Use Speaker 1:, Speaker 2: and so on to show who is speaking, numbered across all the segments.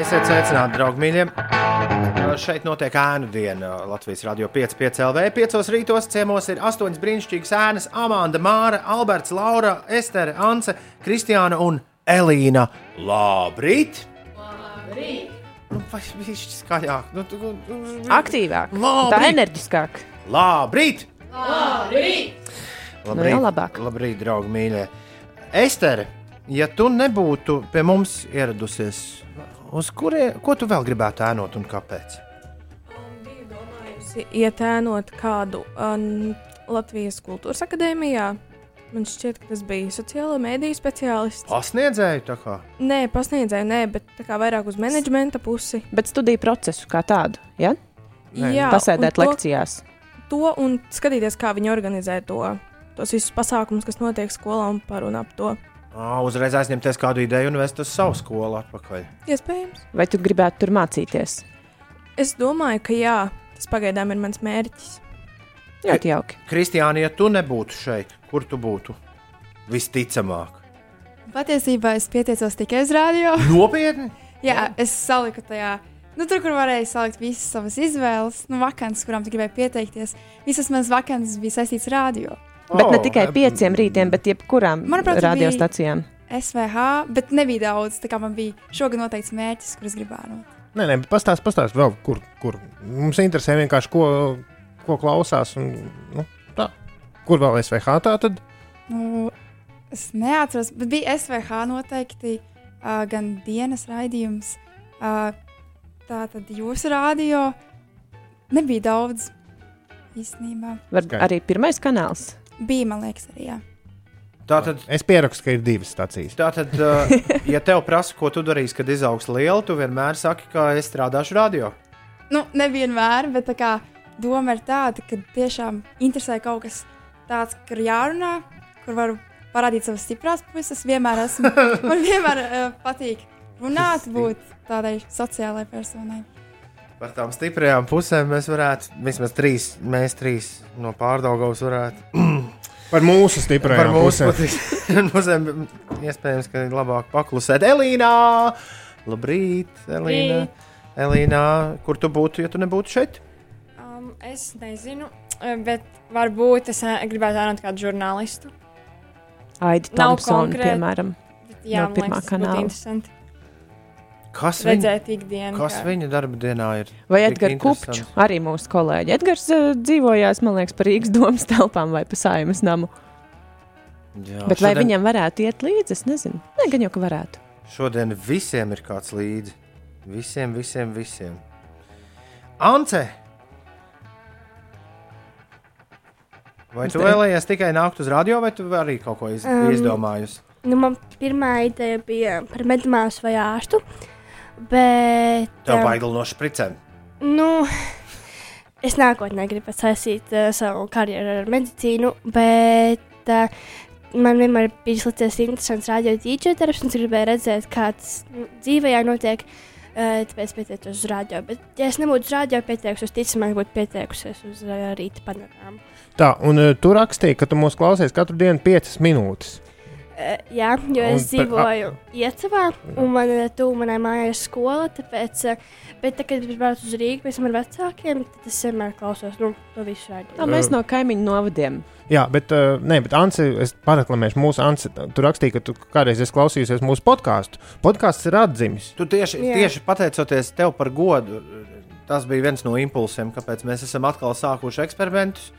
Speaker 1: Esiet sveicināti, draugi mīļie! Uh, Šeit notiek ēnu diena uh, Latvijas radio 5,5 LV. 5 rītos ciemos ir 8 brīnišķīgas ēnas - Amanda, Māra, Alberts, Laura, Estere, Ance, Kristiāna un Elīna. Labrīt! Nu, vai viņš ir skaļāk? Nu, tu- nu, nu,
Speaker 2: aktīvāk,
Speaker 1: Labi.
Speaker 2: tā enerģiskāk.
Speaker 1: Labrīt!
Speaker 2: Nu
Speaker 1: Labrīt!
Speaker 2: jau
Speaker 1: Labrīt,
Speaker 2: labāk.
Speaker 1: labrīt draugi mīļie! Estere, ja tu nebūtu pie mums ieradusies, uz kurie, ko tu vēl gribētu ēnot un kāpēc?
Speaker 3: bijusi ietēnot kādu um, Latvijas kultūras akadēmijā. Man šķiet, ka tas bija sociāla mēdīņu speciālists.
Speaker 1: Pasniedzēju tā kā.
Speaker 3: Nē, pasniedzēju, nē, bet tā kā vairāk uz menedžmenta pusi.
Speaker 2: Bet studiju procesu kā tādu, ja?
Speaker 1: Nē, nu.
Speaker 3: Jā,
Speaker 2: pasēdēt
Speaker 3: un
Speaker 2: lekcijās.
Speaker 3: To, to un skatīties, kā viņi organizē to, tos visus pasākumus, kas notiek skolā un par un ap to.
Speaker 1: Ā, Uzreiz aizņemties kādu ideju un vest uz savu skolu atpakaļ.
Speaker 3: Iespējams.
Speaker 2: Vai tu gribētu tur mācīties?
Speaker 3: Es domāju, ka jā, tas pagaidām ir mans mērķis.
Speaker 1: E-
Speaker 2: Ļoti jauki.
Speaker 1: Kristiāna, ja tu nebūtu šeit, kur tu būtu? Visticamāk.
Speaker 4: Patiesībā es pieteicos tikai uz radio.
Speaker 1: Nopietni!
Speaker 4: Jā, es saliku tajā. Nu, tur, kur varēja salikt visas savas izvēles, nu, vakances, kurām tu gribēji pieteikties, visas manas vakances bija saistītas ar radio.
Speaker 2: Oh, bet ne
Speaker 1: O, e-
Speaker 2: tikai
Speaker 1: em,
Speaker 2: pieciem rītiem, bet jebkurām
Speaker 4: Manuprāt, tu
Speaker 2: radiostacijām.
Speaker 4: SVH, bet nebija daudz. Tā kā man bija šogad noteikts mērķis, kurus gribēju.
Speaker 5: Nē, nē, pastāst, pastāst vēl, kur, kur. Mums interesē vienkārši, ko, ko klausās. Un, nu, tā. kur vēl SVH tā tad?
Speaker 4: Nu, es neatceros, bet bija SVH noteikti uh, gan dienas raidījums, uh, tā tad jūsu radio. Nebija daudz īstenībā.
Speaker 2: Var
Speaker 5: Skaidrs.
Speaker 2: arī pirmais kanāls.
Speaker 4: Bija, man liekas, arī. Jā.
Speaker 1: Tātad,
Speaker 5: Es pierakstu, ka ir divas stācijas.
Speaker 1: tātad uh, ja tev prasa, ko tu darīsi, kad izaugs liela, tu vienmēr saki, ka es strādāšu radio.
Speaker 4: nu, nevienmēr, bet tā kā doma ir tāda, ka tiešām interesē kaut kas tāds, kur jārunā, kur varu parādīt savas stiprās puses. Vienmēr esmu, man vienmēr uh, patīk runāt, būt tādai sociālai personai.
Speaker 1: Par tām stiprajām pusēm mēs varētu, vismaz trīs, mēs trīs no pārdaugos varētu.
Speaker 5: Par mūsu stiprajām
Speaker 1: Par mūsu
Speaker 5: pusēm.
Speaker 1: pusēm- pusēm iespējams, ka ir labāk paklusēt. Elīna! Labrīt, Elīna! Elīna, kur tu būtu, ja tu nebūtu šeit?
Speaker 6: Um, es nezinu, eh, bet varbūt es ā, gribētu zināt, kādu žurnālistu.
Speaker 2: Aidi
Speaker 6: Nav
Speaker 2: Thompsona,
Speaker 6: konkrēti.
Speaker 2: piemēram.
Speaker 6: Bet, jā, no
Speaker 2: No
Speaker 6: man
Speaker 2: pirmā
Speaker 6: liekas, tas
Speaker 2: kanāla.
Speaker 6: būtu interesanti
Speaker 1: Kas viņa,
Speaker 6: redzēt ikdienu.
Speaker 1: kas
Speaker 6: kā-
Speaker 1: viņa darba dienā ir?
Speaker 2: Vai
Speaker 1: Tik
Speaker 2: Edgars
Speaker 1: interesants.
Speaker 2: Kupčs, arī mūsu kolēģi. Edgars uh, dzīvojās, man liekas, par Rīgas domu telpām vai pa saimnes namu.
Speaker 1: Jā,
Speaker 2: Bet vai
Speaker 1: šodien-
Speaker 2: viņam varētu iet līdzi, es nezinu. Nē, gan jau, ka varētu.
Speaker 1: Šodien visiem ir kāds līdzi. Visiem, visiem, visiem. Ance! Vai tu vēlējies tikai nākt uz radio, vai tu arī kaut ko iz um,
Speaker 7: Um,
Speaker 1: izdomājusi?
Speaker 7: Nu, man pirmā ideja bija par medmāsu vai ārstu. Bet.
Speaker 1: Tev
Speaker 7: em,
Speaker 1: baidās no špricēm.
Speaker 7: Nu, es nākotnē gribu saistīt uh, savu karjeru ar medicīnu, bet uh, man vienmēr bija izlicies interesants radio dīdžeru darbs, un es gribēju redzēt, kāds nu, dzīvē jānotiek. eh, Tāpēc pieteicos uz radio. Bet, ja es nebūtu uz radio pieteikusies, ticamāk, būtu pieteikusies uz eh, rīta panorāmu.
Speaker 5: Tā, un uh, tu rakstīji, ka tu mūs klausies katru dienu 5 minūtes.
Speaker 7: Eh, Jā, jo
Speaker 5: Un
Speaker 7: es
Speaker 5: par-
Speaker 7: dzīvoju Iecavā, un man ir tuvu manai mājai ir skola. Tāpēc, eh, bet, tā, kad es braucu uz Rīgā pēc maniem vecākiem, tad es vienmēr klausos nu, to visu
Speaker 2: Tā,
Speaker 7: raidījumu.
Speaker 2: mēs
Speaker 5: Eh.
Speaker 2: no kaimiņu novadiem.
Speaker 5: Jā, bet, uh, nē, bet Anci, es paraklamēšu mūsu Anci. Tu rakstīji, ka tu kādreiz esi klausījusies mūsu podkāstu. Podkāsts ir atzimis.
Speaker 1: Tu tieši,
Speaker 7: Jā.
Speaker 1: tieši pateicoties tev par godu, tas bija viens no impulsiem, kāpēc mēs esam atkal sākuši eksperimentus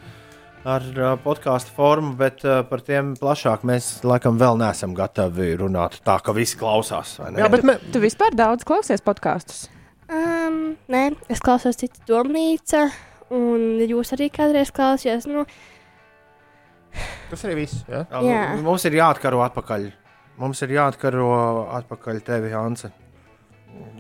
Speaker 1: ar uh, podkāstu formu, bet uh, par tiem plašāk mēs laikam vēl neesam gatavi runāt tā, ka visi klausās. vai ne?
Speaker 5: Jā, bet, me,
Speaker 2: Tu vispār daudz klausies podkāstus.
Speaker 7: Um, nē, es klausos citu domnīcu, un jūs arī kādreiz klausījāties. Nu,
Speaker 5: tas arī viss. Ja?
Speaker 1: Jā,
Speaker 7: Jā.
Speaker 1: nu, Mums ir jāatkaro atpakaļ. Mums ir jāatkaro atpakaļ tevi, Anse.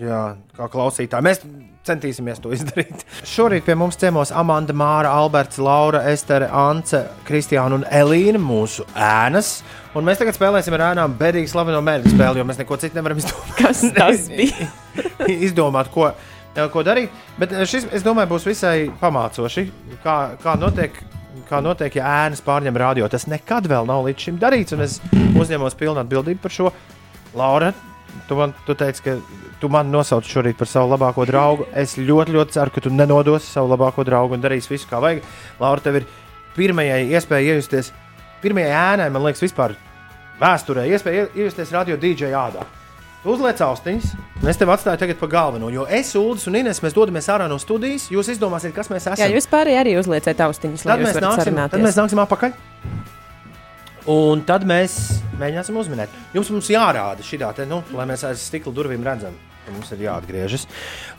Speaker 1: Jā, kā klausītāji, mēs centīsimies to izdarīt. Šorīt pie mums ciemos Amanda, Māra, Alberts, Laura, Estere, Ance, Kristiāna un Elīna, mūsu ēnas. Un mēs tagad spēlēsim ar ēnām bedīgi slaveno mērķu spēli, jo mēs neko citu nevaram izdomāt.
Speaker 2: Kas tas bija?
Speaker 1: izdomāt ko, ko darīt. Bet šis, es domāju, būs visai pamācoši, kā, kā notiek. Kā notiek, ja ēnas pārņem radio, tas nekad vēl nav līdz šim darīts, un es uzņemos pilnu atbildību par šo. Laura, Tu man tu teici, ka tu man nosauc šorīt par savu labāko draugu. Es ļoti, ļoti ceru, ka tu nenodosi savu labāko draugu un darīsi visu, kā vajag. Laura, tev ir pirmajai iespēja iejusties, pirmajai ēnai, man liekas, vispār vēsturē, iespēja ie- iejusties radio DJ ādā. Tu Uzliec austiņas, un es tev atstāju tagad pa galveno, jo es, Ulas un Ines, mēs dodamies ārā no studijas. Jūs izdomāsiet, kas mēs esam.
Speaker 2: Jā, jūs pārējie arī uzlieciet austiņas, lai
Speaker 1: Tad mēs,
Speaker 2: jūs varētu
Speaker 1: nāksim, tad mēs
Speaker 2: sarunāties.
Speaker 1: nāksim atpakaļ. Un tad mēs mēģināsim uzminēt. Jums mums jārāda šī tā, nu, lai mēs aiz stikla durvīm redzam, ka mums ir jāatgriežas.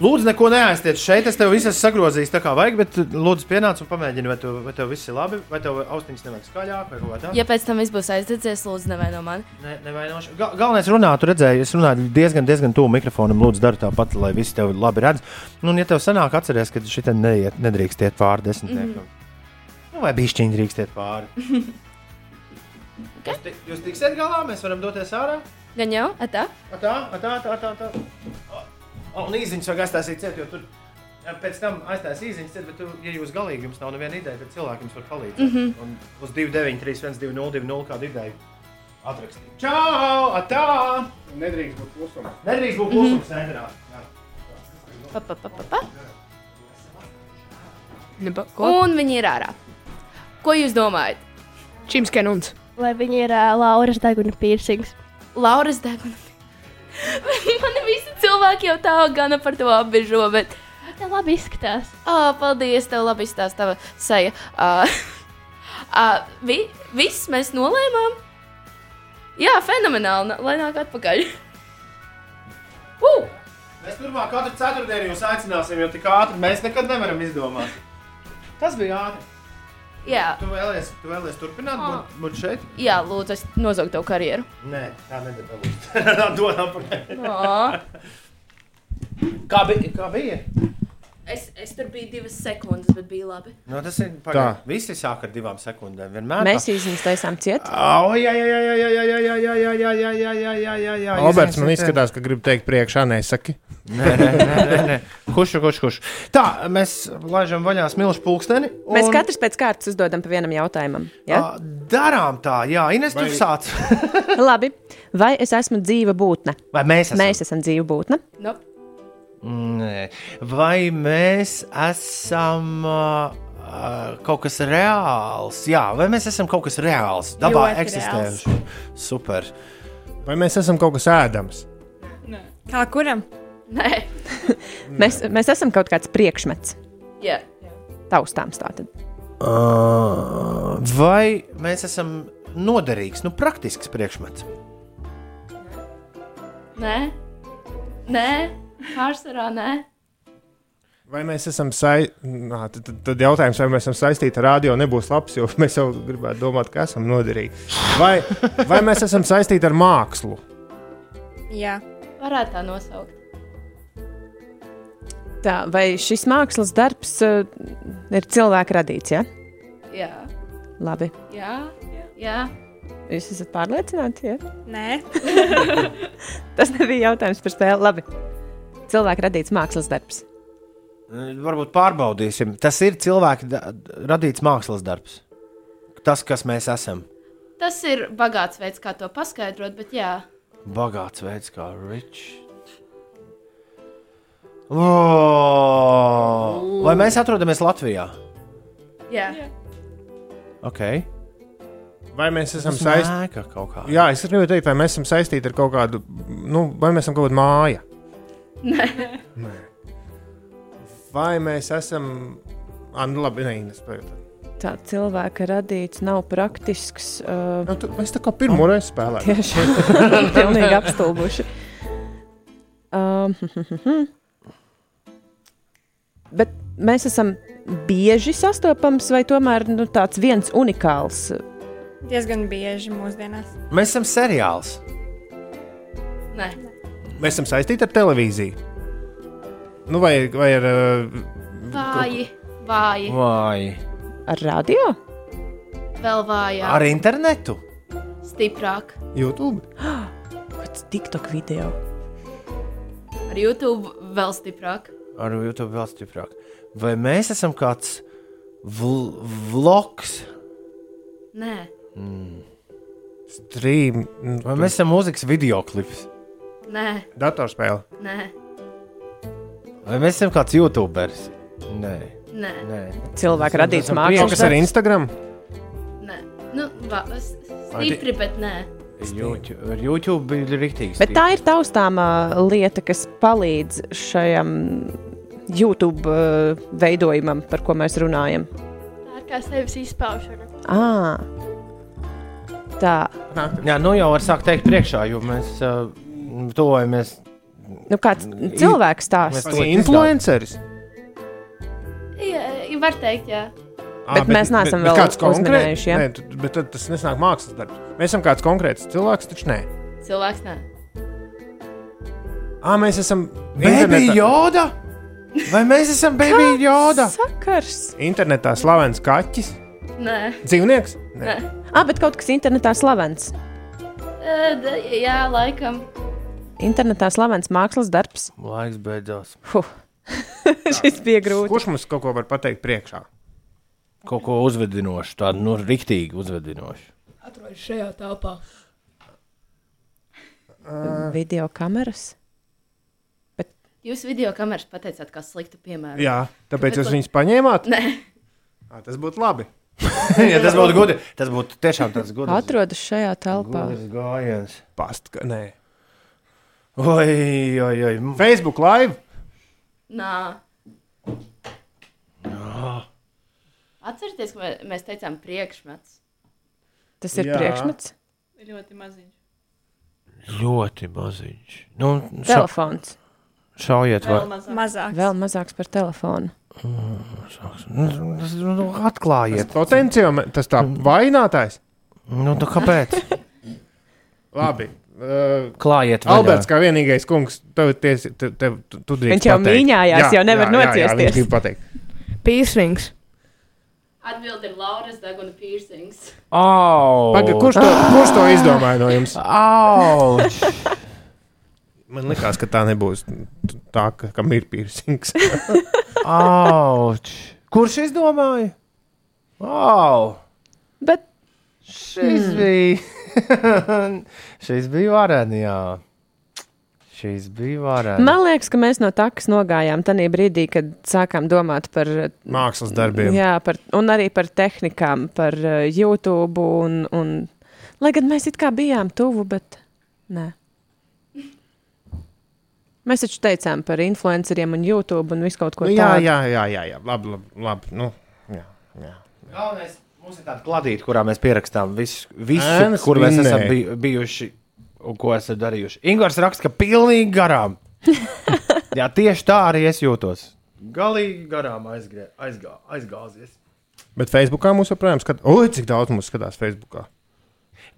Speaker 1: Lūdzu, neko neaizstiet šeit. Es tev visu esmu sagrozījis tā kā vajag, bet lūdzu, pienāc un pamēģini, vai tev, vai tev viss ir labi, vai tev austiņas nevajag skaļāk, vai kaut kā tāda.
Speaker 8: Ja pēc tam viss būs aizdedzies, lūdzu, nevaino mani.
Speaker 1: Ne, nevainošu. Ga- Galvenais runāt, redzēju, es runāju diezgan, diezgan tuvu mikrofonam. Lūdzu, dari tāpat, lai visi tevi labi redz. Nu, un, ja tev sanāk, atceries, ka šī te neiet, nedrīkst iet pāri desmitniekam. Mm -hmm. nu, vai bišķiņi drīkst iet pāri? okay. Jūs, ti- jūs tiksiet galā, mēs varam doties ārā.
Speaker 8: Gan jau, atā?
Speaker 1: A Tā, a tā, tā, tā. tā. O, un īziņš vajag aiztaisīt ciet, jo tur ja, pēc tam aiztaisīs īziņš ciet, bet, tu, ja jūs galīgi jums nav neviena ideja, tad cilvēki jums var palīdzēt. Mm -hmm. Un uz 293, 120, 0 kādu ideju atrakstīt. Čau, a tā! Mhm.
Speaker 5: Nedrīkst būt klusumā.
Speaker 1: Nedrīkst būt klusums, Sandrā.
Speaker 8: Pa, pa, pa, pa, pa.
Speaker 9: Nu, pa- Ko?
Speaker 8: Un viņi ir ārā. Ko jūs domājat?
Speaker 9: Čims Kenuns.
Speaker 7: Vai viņi ir uh, Lauras deguna piercings?
Speaker 8: Lauras deguna. Man visi cilvēki jau tā gana par to apbežo, bet.
Speaker 7: Tā labi izskatās.
Speaker 8: Oh, paldies, tev labi izstāsta tava seja. Uh, uh, vi, viss mēs nolēmām. Jā, fenomenāli. na- Lai nāk atpakaļ. Uh!
Speaker 1: Mēs turpmāk katru ceturtdienu jūs aicināsim, jo tik ātri mēs nekad nevaram izdomāt. Tas bija ātri.
Speaker 8: Jā,
Speaker 1: Tu vēlies, tu vēlies turpināt
Speaker 8: Ā.
Speaker 1: būt, būt šeit?
Speaker 8: jā, lūdzu, es nozagtu tavu karjeru.
Speaker 1: Nē, tā nedabūs. Dodam par
Speaker 8: Ā.
Speaker 1: Kā bija? Kā bija?
Speaker 8: Es, es tur biju divas sekundes, bet bija labi.
Speaker 1: No, Nu, tas ir pagaidi. Visi sāk ar divām sekundēm. Vienmēr.
Speaker 2: Mēs īstenībā taisām ciet.
Speaker 1: Au, jā, jā, jā, jā, jā, jā, jā, jā, jā, jā, jā, jā, jā, jā, jā, jā.
Speaker 5: Alberts man izskatās, ka grib teikt priekšā, nesaki.
Speaker 1: Nē, nē, nē, nē, nē. Kurš, kurš, kurš. Tā, mēs laižam vaļā smilšu pulksteni. Un...
Speaker 2: Mēs katrs pēc kārtas uzdodam pa vienam jautājumam. Ja?
Speaker 1: Ā, Darām tā, jā, Ines, tu
Speaker 5: Vai-
Speaker 1: sāc.
Speaker 2: Labi, vai es esmu dzīva būtne?
Speaker 1: Vai mēs esam?
Speaker 2: Mēs Ah. esam dzīva būtne.
Speaker 8: Nu,
Speaker 1: Nē. Vai mēs esam uh, kaut kas reāls? Jā, vai mēs esam kaut kas reāls? Dabā
Speaker 4: Ļoti
Speaker 1: eksistējuši. Super.
Speaker 5: Vai mēs esam kaut kas ēdams?
Speaker 6: Kā kuram?
Speaker 8: nē,
Speaker 2: Mēs, mēs esam kaut kāds priekšmets
Speaker 8: jā.
Speaker 2: taustāms. Tātad.
Speaker 1: Uh, vai mēs esam noderīgs, nu, praktisks priekšmets?
Speaker 8: Nē, nē, pārsvarā nē.
Speaker 5: Vai mēs esam saistīti? Tad, tad- tad jautājums, vai mēs esam saistīti ar radio, nebūs labs, jo mēs jau gribētu domāt, ka esam noderīgi. Vai, vai mēs esam saistīti ar mākslu?
Speaker 6: Jā.
Speaker 8: Varētu tā nosaukt.
Speaker 2: Tā, vai šis mākslas darbs uh, ir cilvēka radīts? Ja?
Speaker 8: Jā,
Speaker 2: Labi,
Speaker 8: jā, jā.
Speaker 2: jūs esat pārliecināti. Ja?
Speaker 6: Nē.
Speaker 2: Tas nebija jautājums par spēli. Labi. Cilvēka radīts mākslas darbs.
Speaker 1: Varbūt pārbaudīsim. Tas ir cilvēka da- radīts mākslas darbs. Tas, kas mēs esam.
Speaker 8: Tas ir bagāts veids, kā to paskaidrot, bet jā,
Speaker 1: Bagāts veids, kā rich. Oh! Vai mēs atrodamies Latvijā?
Speaker 8: jā.
Speaker 1: Okay.
Speaker 5: Vai mēs esam
Speaker 1: Saist...
Speaker 5: saistīti?
Speaker 1: Nē, ka kaut kā.
Speaker 5: Jā, es gribēju teikt, vai mēs esam saistīti ar kaut kādu, nu, vai mēs esam kaut kāda māja? Nē. Nē. Vai mēs esam. Ah, nu, labi, nē, nespēju.
Speaker 2: Tā cilvēka radīts nav praktisks. Uh,
Speaker 5: Nu, tu, mēs tā kā pirmo reizi spēlējām.
Speaker 2: Tieši pilnīgi apstulbuši. Um, bet mēs esam bieži sastopams, vai tomēr nu, tāds viens unikāls.
Speaker 6: Diezgan bieži mūsdienās.
Speaker 1: Mēs esam seriāls.
Speaker 8: Nē,
Speaker 5: Mēs esam saistīti ar televīziju. Nu, vai, vai ar. ā,
Speaker 8: vāji, vāji,
Speaker 1: Vai
Speaker 2: Ar radio?
Speaker 8: vēl vājāk,
Speaker 1: ar internetu?
Speaker 8: stiprāk.
Speaker 5: YouTube.
Speaker 2: Kāds TikTok video?
Speaker 8: Ar YouTube vēl stiprāk.
Speaker 1: Ar YouTube vēl stiprāk. Vai mēs esam kāds vl vlogs?
Speaker 8: Nē,
Speaker 5: Stream. nu,
Speaker 1: Vai mēs esam mūzikas video klips?
Speaker 8: Nē,
Speaker 5: Datorspēle.
Speaker 8: nē,
Speaker 1: Vai mēs esam kāds youtuberis? Nē,
Speaker 8: nē,
Speaker 1: nē.
Speaker 2: Cilvēka radīts
Speaker 5: Esam
Speaker 2: mākslinieks.
Speaker 5: Kaut kas ar Instagram?
Speaker 8: nē. Nu, va, es- stipri, bet nē.
Speaker 1: YouTube, ar YouTube bija rīktīgs.
Speaker 2: Bet tā ir taustāmā lieta, kas palīdz šajam YouTube uh, veidojumam, par ko mēs runājam.
Speaker 7: Tā ir kā sevis izpaušana.
Speaker 2: À. Tā,
Speaker 1: Jā, nu jau var sākt teikt priekšā, jo mēs uh, tuvojamies.
Speaker 2: nu kāds
Speaker 1: I-
Speaker 2: cilvēks
Speaker 1: Mēs
Speaker 2: stāsta.
Speaker 1: to
Speaker 5: Influenceris.
Speaker 8: Jā, var teikt, jā.
Speaker 5: Ā,
Speaker 2: Bet mēs neesam vēl uzminējuši, ja?
Speaker 5: Nē, tu- bet tad tas nesnāk mākslas darbs. Mēs esam kāds konkrēts cilvēks, taču nē.
Speaker 8: Cilvēks nē.
Speaker 5: Ā, mēs esam
Speaker 1: Baby
Speaker 5: internetā,
Speaker 1: Joda! Vai mēs esam Baby Joda?
Speaker 2: Sakars.
Speaker 5: internetā slavens kaķis.
Speaker 8: Nē,
Speaker 5: Dzīvnieks?
Speaker 8: nē.
Speaker 2: Ah, bet kaut kas internetā slavens.
Speaker 8: Ē, d- Jā, laikam.
Speaker 2: Internetā slavens mākslas darbs.
Speaker 1: Laiks beidzās.
Speaker 2: Huh. Šis bija grūti.
Speaker 5: Kurš mums kaut ko var pateikt priekšā?
Speaker 1: Kaut ko uzvedinošu, tādu nu, rīktīgi uzvedinošu.
Speaker 9: Atrodas šajā telpā.
Speaker 2: Video kameras.
Speaker 8: Jūs video kameras pateicāt, kā sliktu piemēru.
Speaker 5: Jā, tāpēc
Speaker 8: Kāpēc
Speaker 5: jūs
Speaker 8: lai-
Speaker 5: viņus paņēmāt?
Speaker 8: Nē,
Speaker 5: Ā, tas būtu labi.
Speaker 1: ja tas būtu gudri, tas būtu tiešām tāds gudrs.
Speaker 2: Atrodas šajā telpā.
Speaker 1: Gudrs gājiens.
Speaker 5: Past, ka, nē.
Speaker 1: Oi, oi, oi. m-
Speaker 5: Facebook live.
Speaker 8: nā. Atcerieties, ka mē- mēs teicām priekšmets.
Speaker 2: Tas ir
Speaker 5: Jā.
Speaker 2: priekšmets.
Speaker 9: Ļoti maziņš.
Speaker 1: Ļoti maziņš. Nu, ša,
Speaker 2: Telefons.
Speaker 1: šaujiet, vai
Speaker 3: Mazāk.
Speaker 2: Vēl mazāks par telefonu.
Speaker 1: Nu, tas- nu, atklājiet.
Speaker 5: Potenciāli tas tā vainātājs.
Speaker 1: Nu, tā kāpēc?
Speaker 5: Labi. Uh,
Speaker 1: Klājiet, vaļā.
Speaker 5: Alberts, kā vienīgais kungs, tev tiesi, te, te, tu, tu drīkst
Speaker 2: Viņš jau
Speaker 5: pateikt.
Speaker 2: mīņājās, jau nevar nociesties.
Speaker 5: Jā, jā, jā,
Speaker 9: Pīsrings.
Speaker 8: Atbildi ir Lauras Daguna piercings.
Speaker 1: Au!
Speaker 5: Paga, kurš, to, kurš to izdomāja no jums?
Speaker 1: Auč!
Speaker 5: Man liekas, ka tā nebūs tā, ka, kam ir piercings.
Speaker 1: Auč! Kurš izdomāja? Au!
Speaker 2: Bet
Speaker 1: Šis mm. bija. Šis bija vareni, jā. Šis bija vareni.
Speaker 2: man liekas, ka mēs no takas nogājām tajā brīdī, kad sākām domāt par,
Speaker 5: Mākslas darbiem.
Speaker 2: jā, par, un arī par tehnikām, par uh, YouTube. Un, un, lai gan mēs it kā bijām tuvu, bet nē. Mēs taču teicām par influenceriem un YouTube un visu kaut ko
Speaker 5: nu, jā,
Speaker 2: tādu.
Speaker 5: jā, jā, jā, jā. Labi, labi. labi. Nu, jā, jā.
Speaker 1: Galvenais, mums ir tāda kladīte, kurā mēs pierakstām visu, visu
Speaker 5: Ēnas
Speaker 1: kur mēs
Speaker 5: vinnēji.
Speaker 1: esam biju, bijuši un ko esam darījuši. Ingūns raksta, ka pilnīgi garām. Jā, tieši tā arī es jūtos. Galīgi garām aizgrē, aizgā, aizgāzies.
Speaker 5: Bet Facebookā mums joprojām skatās, oi, cik daudz mums skatās Facebookā.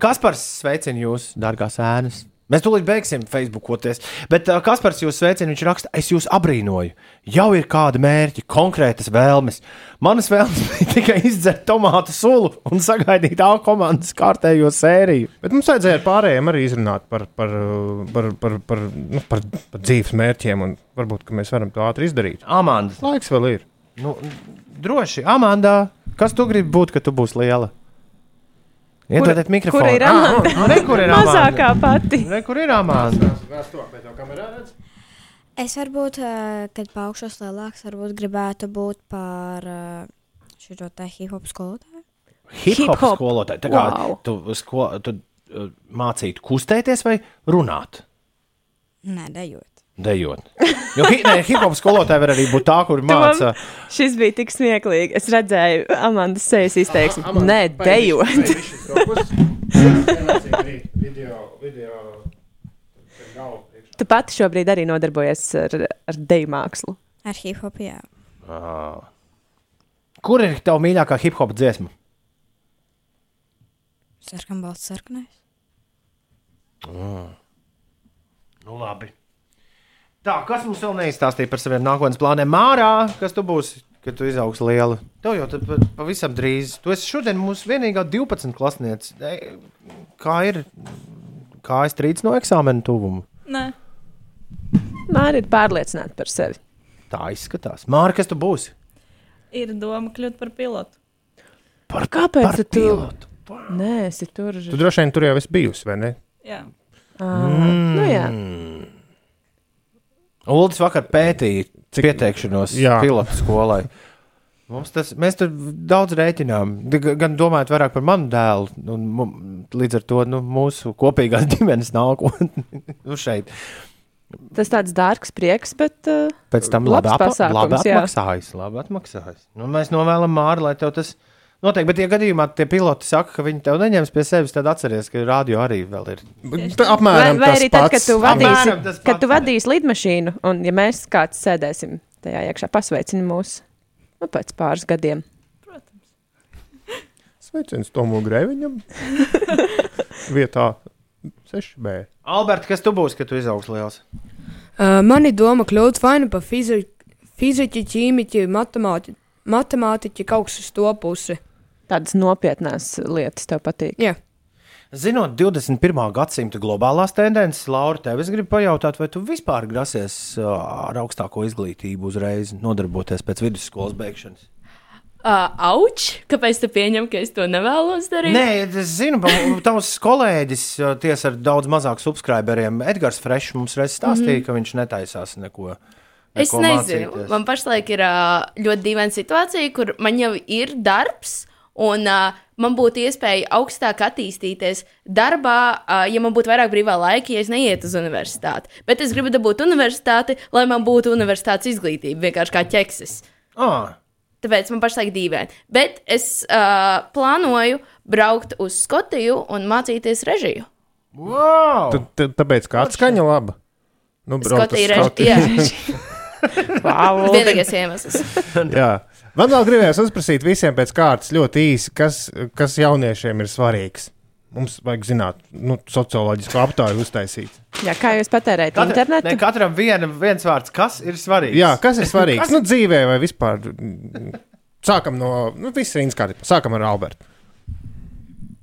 Speaker 1: Kas par sveicinu jūs, dārgās ēnas? Mēs tūlīt beigsim Facebookoties. Bet uh, kas par jums sveicinu? Viņš raksta, es jūs abrīnoju. Jau ir kādi mērķi, konkrētas vēlmes. Manas vēlmes bija tikai izdzert tomātu sulu un sagaidīt A komandas kārtējo sēriju.
Speaker 5: Bet mums vajadzēja ar pārējiem arī izrunāt par, par, uh, par, par, par, nu, par, par dzīves mērķiem, un varbūt ka mēs varam to ātri izdarīt.
Speaker 1: Amanda,
Speaker 5: Laiks vēl ir.
Speaker 1: nu, droši, Amanda, kas tu gribi būt, kad tu būsi liela? Iedodiet mikrofonu.
Speaker 2: kura ir Amanda?
Speaker 1: Ah, re, kur ir Amanda?
Speaker 2: Mazākā pati.
Speaker 1: Re, kur ir Amanda?
Speaker 10: Es varbūt, eh, kad paaugšos lielāks, varbūt gribētu būt par eh, šo te hip-hop skolotāju.
Speaker 1: Hip-hop
Speaker 2: Hip-hop.
Speaker 1: skolotāja. Tā kā wow.
Speaker 2: Wow.
Speaker 1: tu, sko, tu uh, mācītu kustēties vai runāt?
Speaker 10: Nē, dejot.
Speaker 1: Dejot. Jo hi, ne, hip-hop skolotāja var arī būt tā, kur māca.
Speaker 2: Šis bija tik smieklīgi. Es redzēju, Amandas sejas izteiksmi. Nē, dejot. Tu pati šobrīd arī nodarbojies ar, ar deju mākslu.
Speaker 10: Ar hip-hop, jā.
Speaker 1: Ā. Kur ir tava mīļākā hip-hop dziesma?
Speaker 10: Sarkan balsts, sarkanais.
Speaker 1: Nu, labi. Tā, kas mums vēl neizstāstīja par saviem nākotnes plāniem? Mārā, kas tu būsi, kad tu izaugs liela? Tev jau tad pa- pavisam drīz. Tu esi šodien mūsu vienīgā 12 klasniece. Ei, Kā ir? Kā es trīc no eksāmena tuvuma?
Speaker 3: Nē.
Speaker 2: Māra ir pārliecināta par sevi.
Speaker 1: Tā izskatās. Māra, kas tu būsi?
Speaker 3: Ir doma kļūt par pilotu.
Speaker 1: Par
Speaker 2: Kāpēc
Speaker 1: par
Speaker 2: tu-
Speaker 1: pilotu?
Speaker 2: Nē, esi tur.
Speaker 5: Tu droši vien tur jau esi bijusi, vai ne?
Speaker 3: Jā.
Speaker 2: Ā, Nu, jā.
Speaker 1: Mm. Uldis vakar pētīja Cik... pieteikšanos
Speaker 5: Jā.
Speaker 1: pilotu skolai. Mums Tas, mēs tur daudz rēķinām. G- Gan domājot vairāk par manu dēlu, un mu- līdz ar to nu, mūsu kopīgās ģimenes nākotni nu, šeit.
Speaker 2: Tas tāds dārgs prieks, bet uh,
Speaker 1: Pēc tam
Speaker 2: labs
Speaker 1: labi, apa,
Speaker 2: pasākums,
Speaker 1: labi
Speaker 2: jā.
Speaker 1: atmaksājas. Labi atmaksājas. Nu, mēs novēlam Māri, lai tev tas notiek. Bet, ja gadījumā tie piloti saka, ka viņi tev neņems pie sevis, tad atceries, ka radio arī vēl ir.
Speaker 2: Vai, vai arī tad, kad tu vadīsi,
Speaker 1: Apmēram tas
Speaker 2: kad tu vadīsi lidmašīnu, un ja mēs kāds sēdēsim tajā iekšā, pasveicini mūs nu, pēc pāris gadiem.
Speaker 5: Sveiciens Tomu Grēviņam. Vietā 6B.
Speaker 1: Alberti, kas tu būsi, kad tu izaugs liels?
Speaker 9: Uh, man ir doma kļūt vainu par fizi fiziķi, ķīmiķi, matemāti matemātiķi, kaut kas uz to pusi.
Speaker 2: Tādas nopietnās lietas tev patīk.
Speaker 9: Jā.
Speaker 1: Zinot 21. gadsimta globālās tendences, Laura, tev es gribu pajautāt, vai tu vispār grasies ā, ar augstāko izglītību uzreiz nodarboties pēc vidusskolas beigšanas?
Speaker 8: Uh, auč, kāpēc tu pieņem, ka es to nevēlos darīt?
Speaker 1: Nē, es zinu, ka tavs kolēģis, ā, tiesa ar daudz mazāk subscriberiem, Edgars Frešs, mums reiz stāstīja, mm
Speaker 8: Mhm.
Speaker 1: -hmm. ka viņš netaisās neko.
Speaker 8: Es
Speaker 1: neko
Speaker 8: nezinu.
Speaker 1: mācīties.
Speaker 8: Man pašlaik ir ā, ļoti dīvaina situācija, kur man jau ir darbs, un ā, man būtu iespēja augstāk attīstīties darbā, ā, ja man būtu vairāk brīvā laika, ja es neietu uz universitāti. Bet es gribu dabūt universitāti, lai man būtu universitātes izglītība, vienkārši kā ķeksis.
Speaker 1: Ah.
Speaker 8: Tāpēc man pašlaik ir dīvaini. Bet es uh, plānoju braukt uz Skotiju un mācīties režiju.
Speaker 1: Wow!
Speaker 5: Tad- tad- Tāpēc kā atskaņa laba. Nu, braukt uz
Speaker 8: Skotija reži- jā, reži.
Speaker 2: Wow.
Speaker 8: Vienīgais iemesls.
Speaker 5: Jā. Man vēl gribējās uzprasīt visiem pēc kārtas ļoti īsi, kas, kas jauniešiem ir svarīgs. Mums vajag zināt, nu, socioloģisku aptauju uztaisīt.
Speaker 2: Jā, kā jūs patērējat
Speaker 1: Katra-
Speaker 2: internetu?
Speaker 1: Ne, katram viena, viens vārds, kas ir svarīgs?
Speaker 5: Jā, kas ir svarīgs?
Speaker 1: Kas-
Speaker 5: nu, dzīvē vai vispār? Mm, Sākam no, nu, viss rīns kārtībā. Sākam ar Albertu.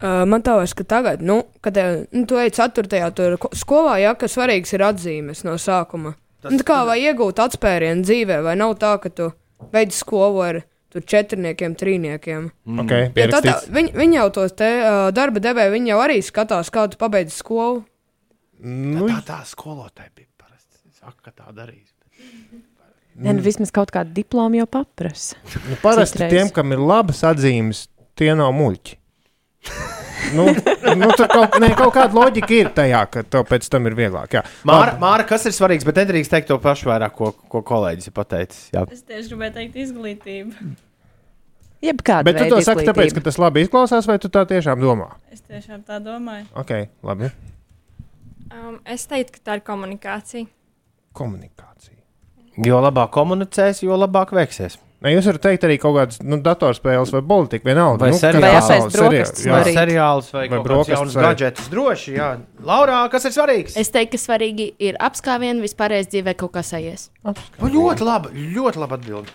Speaker 9: Uh, man tā vairs, ka tagad, nu, kad tev, nu, tu ej 4. Tur, ko- skolā, jā, ka svarīgs ir atzīmes no sākuma. Tas, nu, tā kā vai iegūt atspērienu dzīvē, vai nav tā, ka tu beidz skolu ar tur četrniekiem, trīniekiem.
Speaker 5: Mm. Okay,
Speaker 9: Jo tā tā,
Speaker 5: pierakstīts.
Speaker 9: viņi, viņi jau tos te uh, darba devēji, viņi jau arī skatās, kā tu pabeidz skolu.
Speaker 5: Nu,
Speaker 1: tā, tā skolotāja bija parasti. Saka, ka tā darīs.
Speaker 2: Nē,
Speaker 1: Mm.
Speaker 2: nu, vismaz kaut kādu diplomu jau paprasa.
Speaker 5: Nu, parasti
Speaker 2: Citreiz.
Speaker 5: Citreiz. tiem, kam ir labas atzīmes, tie nav muļķi. nu, nu, tur kaut, ne, kaut kāda loģika ir tajā, ka tev pēc tam ir vieglāk. Jā.
Speaker 1: Māra, Māra, kas ir svarīgs, bet nedrīkst teikt to pašu vairāk, ko, ko kolēģis ir pateicis. Jā.
Speaker 6: Es tieši gribēju teikt, izglītība.
Speaker 2: Jebkāda
Speaker 5: Bet tu to saki tāpēc, ka tas labi izklausās, vai tu tā tiešām domā?
Speaker 6: Es tiešām tā domāju.
Speaker 5: Ok, labi.
Speaker 6: Um, es teiktu, ka tā ir komunikācija.
Speaker 5: Komunikācija.
Speaker 1: Jo labāk komunicēs, jo labāk veiksies.
Speaker 5: Ne, jūs varat teikt arī kaut kādas nu, datorspēles vai politiku, vienalga.
Speaker 1: Vai
Speaker 5: nu,
Speaker 1: seriāls.
Speaker 5: kas
Speaker 1: Vai
Speaker 5: pasaules
Speaker 1: apēst brokastis
Speaker 5: seriāli- jā.
Speaker 1: vai seriāls vai kaut kāds jauns
Speaker 5: arī.
Speaker 1: gadžets. Droši, jā. Laurā, kas ir svarīgs?
Speaker 8: Es teiktu, ka svarīgi ir apskāvienu, vispārējais dzīvē kaut kas aizies.
Speaker 1: Nu, Ļoti labi, ļoti labi atbild.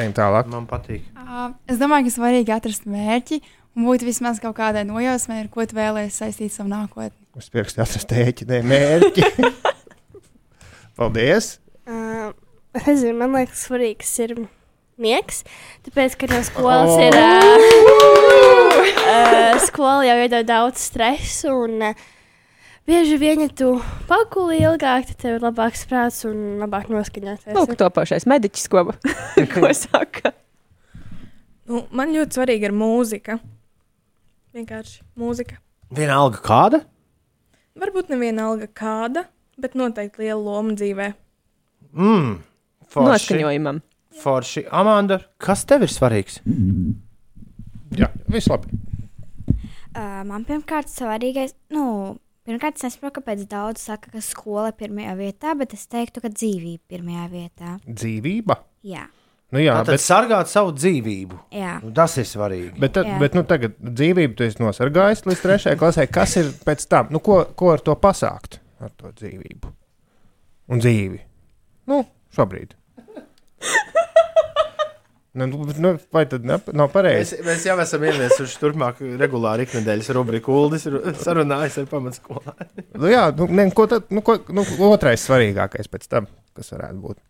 Speaker 5: Ejam tālāk.
Speaker 1: Man patīk.
Speaker 4: Ā, Es domāju, ka svarīgi atrast mērķi un būt vismaz kaut kādai nojausmai, ar ko tu vēlēsies saistīt savu nākotni.
Speaker 5: Uz pirksta atrast ēķi, ne mērķi. Paldies!
Speaker 7: Uh, es nezinu, man liekas, svarīgs ir miegs. Tāpēc, ka no skolas
Speaker 11: Oh.
Speaker 7: ir. Uh, uh, skola jau iedod daudz stresa, un uh, bieži vien, ja tu pakuli ilgāk, tad tev ir labāks prāts un labāk noskaņoties.
Speaker 2: Lūk, topošais mediķis, ko, ko saka.
Speaker 3: Nu, man ļoti svarīga ir mūzika. Vienkārši mūzika.
Speaker 1: Vienalga kāda?
Speaker 3: Varbūt neviena alga kāda, bet noteikti liela loma dzīvē.
Speaker 1: Mm,
Speaker 2: Noskaņojumam.
Speaker 1: Forši. Amanda, kas tev ir svarīgs?
Speaker 5: Jā, viss labi.
Speaker 10: Uh, man pirmkārt svarīgais, nu, pirmkārt, es nesaprotu, kāpēc daudz saka, ka skola ir pirmajā vietā, bet es teiktu, ka dzīvība ir pirmajā vietā.
Speaker 5: Dzīvība.
Speaker 10: Jā.
Speaker 5: Nu, jā,
Speaker 1: Tātad
Speaker 5: bet,
Speaker 1: sargāt savu dzīvību.
Speaker 10: Jā.
Speaker 1: Nu, tas ir svarīgi.
Speaker 5: bet, tad,
Speaker 10: Jā.
Speaker 5: bet nu, tagad dzīvību tu esi nosargājis līdz trešajai klasē. Kas ir pēc tam? Nu, ko, ko ar to pasākt? Ar to dzīvību. Un dzīvi. Nu, šobrīd. Nu, nu, vai tad ne, nav
Speaker 1: Mēs,
Speaker 5: pareizi?
Speaker 1: mēs jau esam ieviesuši turpmāk regulāri ikdienas rubriku. Uldis ir sarunājis ar pamatskolā.
Speaker 5: Nu, jā, nu, ne, ko tad, nu, ko, nu, otrais svarīgākais pēc tam, kas varētu būt.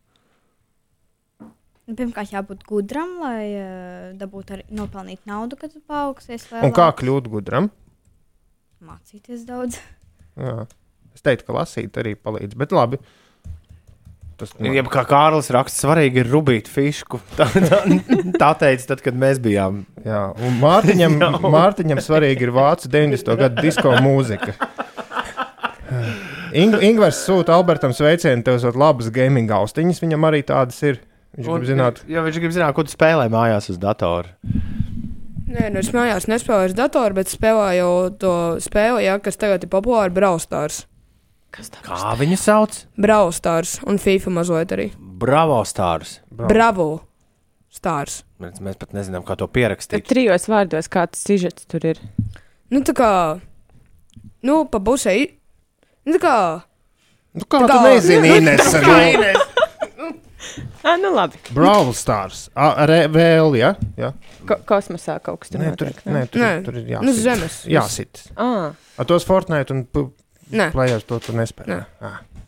Speaker 10: Nu, Pirmkārt, jābūt gudram, lai uh, dabūtu arī nopelnīt naudu, kad tu paaugsies.
Speaker 5: Un kā kļūt gudram?
Speaker 10: Mācīties daudz.
Speaker 5: Jā. Es teiktu, ka lasīt arī palīdz, bet labi. tas
Speaker 1: Jā, kā Kārlis raksta, svarīgi ir rubīt fišku. Tā, tā, tā teica, tad, kad mēs bijām.
Speaker 5: Jā, un Mārtiņam, Mārtiņam svarīgi ir vācu 90. gada disko mūzika. Ing Ingūns sūta Albertam sveicienu, tev ir labas gaming austiņas, viņam arī tādas ir. Viņš
Speaker 1: Un-
Speaker 5: grib zināt,
Speaker 1: Jo viņš grib zināt, ko tu spēlē mājās uz datora.
Speaker 9: Nē, nu es mājās nespēlēju ar datoru, bet spēlēju to spēli, jā, kas tagad ir populāra Braustārs.
Speaker 1: Kā viņu sauc?
Speaker 9: Braustārs un FIFA mazliet arī.
Speaker 1: Bravo stārs.
Speaker 9: Bravo! Stārs.
Speaker 1: Mēs, mēs pat nezinām, kā to pierakstīt.
Speaker 2: Trijos vārdos, kāds sižets tur ir.
Speaker 9: Nu, tā kā. Nu, pa pusē. i- Nu, tā kā.
Speaker 5: Nu, kā tu nezini, Inese, nu?
Speaker 2: Ah, nu labi.
Speaker 5: Brawl Stars, A, re, vēl, ja? ja?
Speaker 2: Ko kosmosā kaut kas tur
Speaker 5: Nē, tur,
Speaker 2: notiek.
Speaker 5: nē, tur, nē.
Speaker 9: Nē.
Speaker 5: tur ir jāsit.
Speaker 9: Nu, zemes.
Speaker 5: Jāsit.
Speaker 2: Ah.
Speaker 5: Ar tos Fortnite un
Speaker 9: Nē.
Speaker 5: Players to tu nespēj.
Speaker 9: Nē.
Speaker 5: Ah.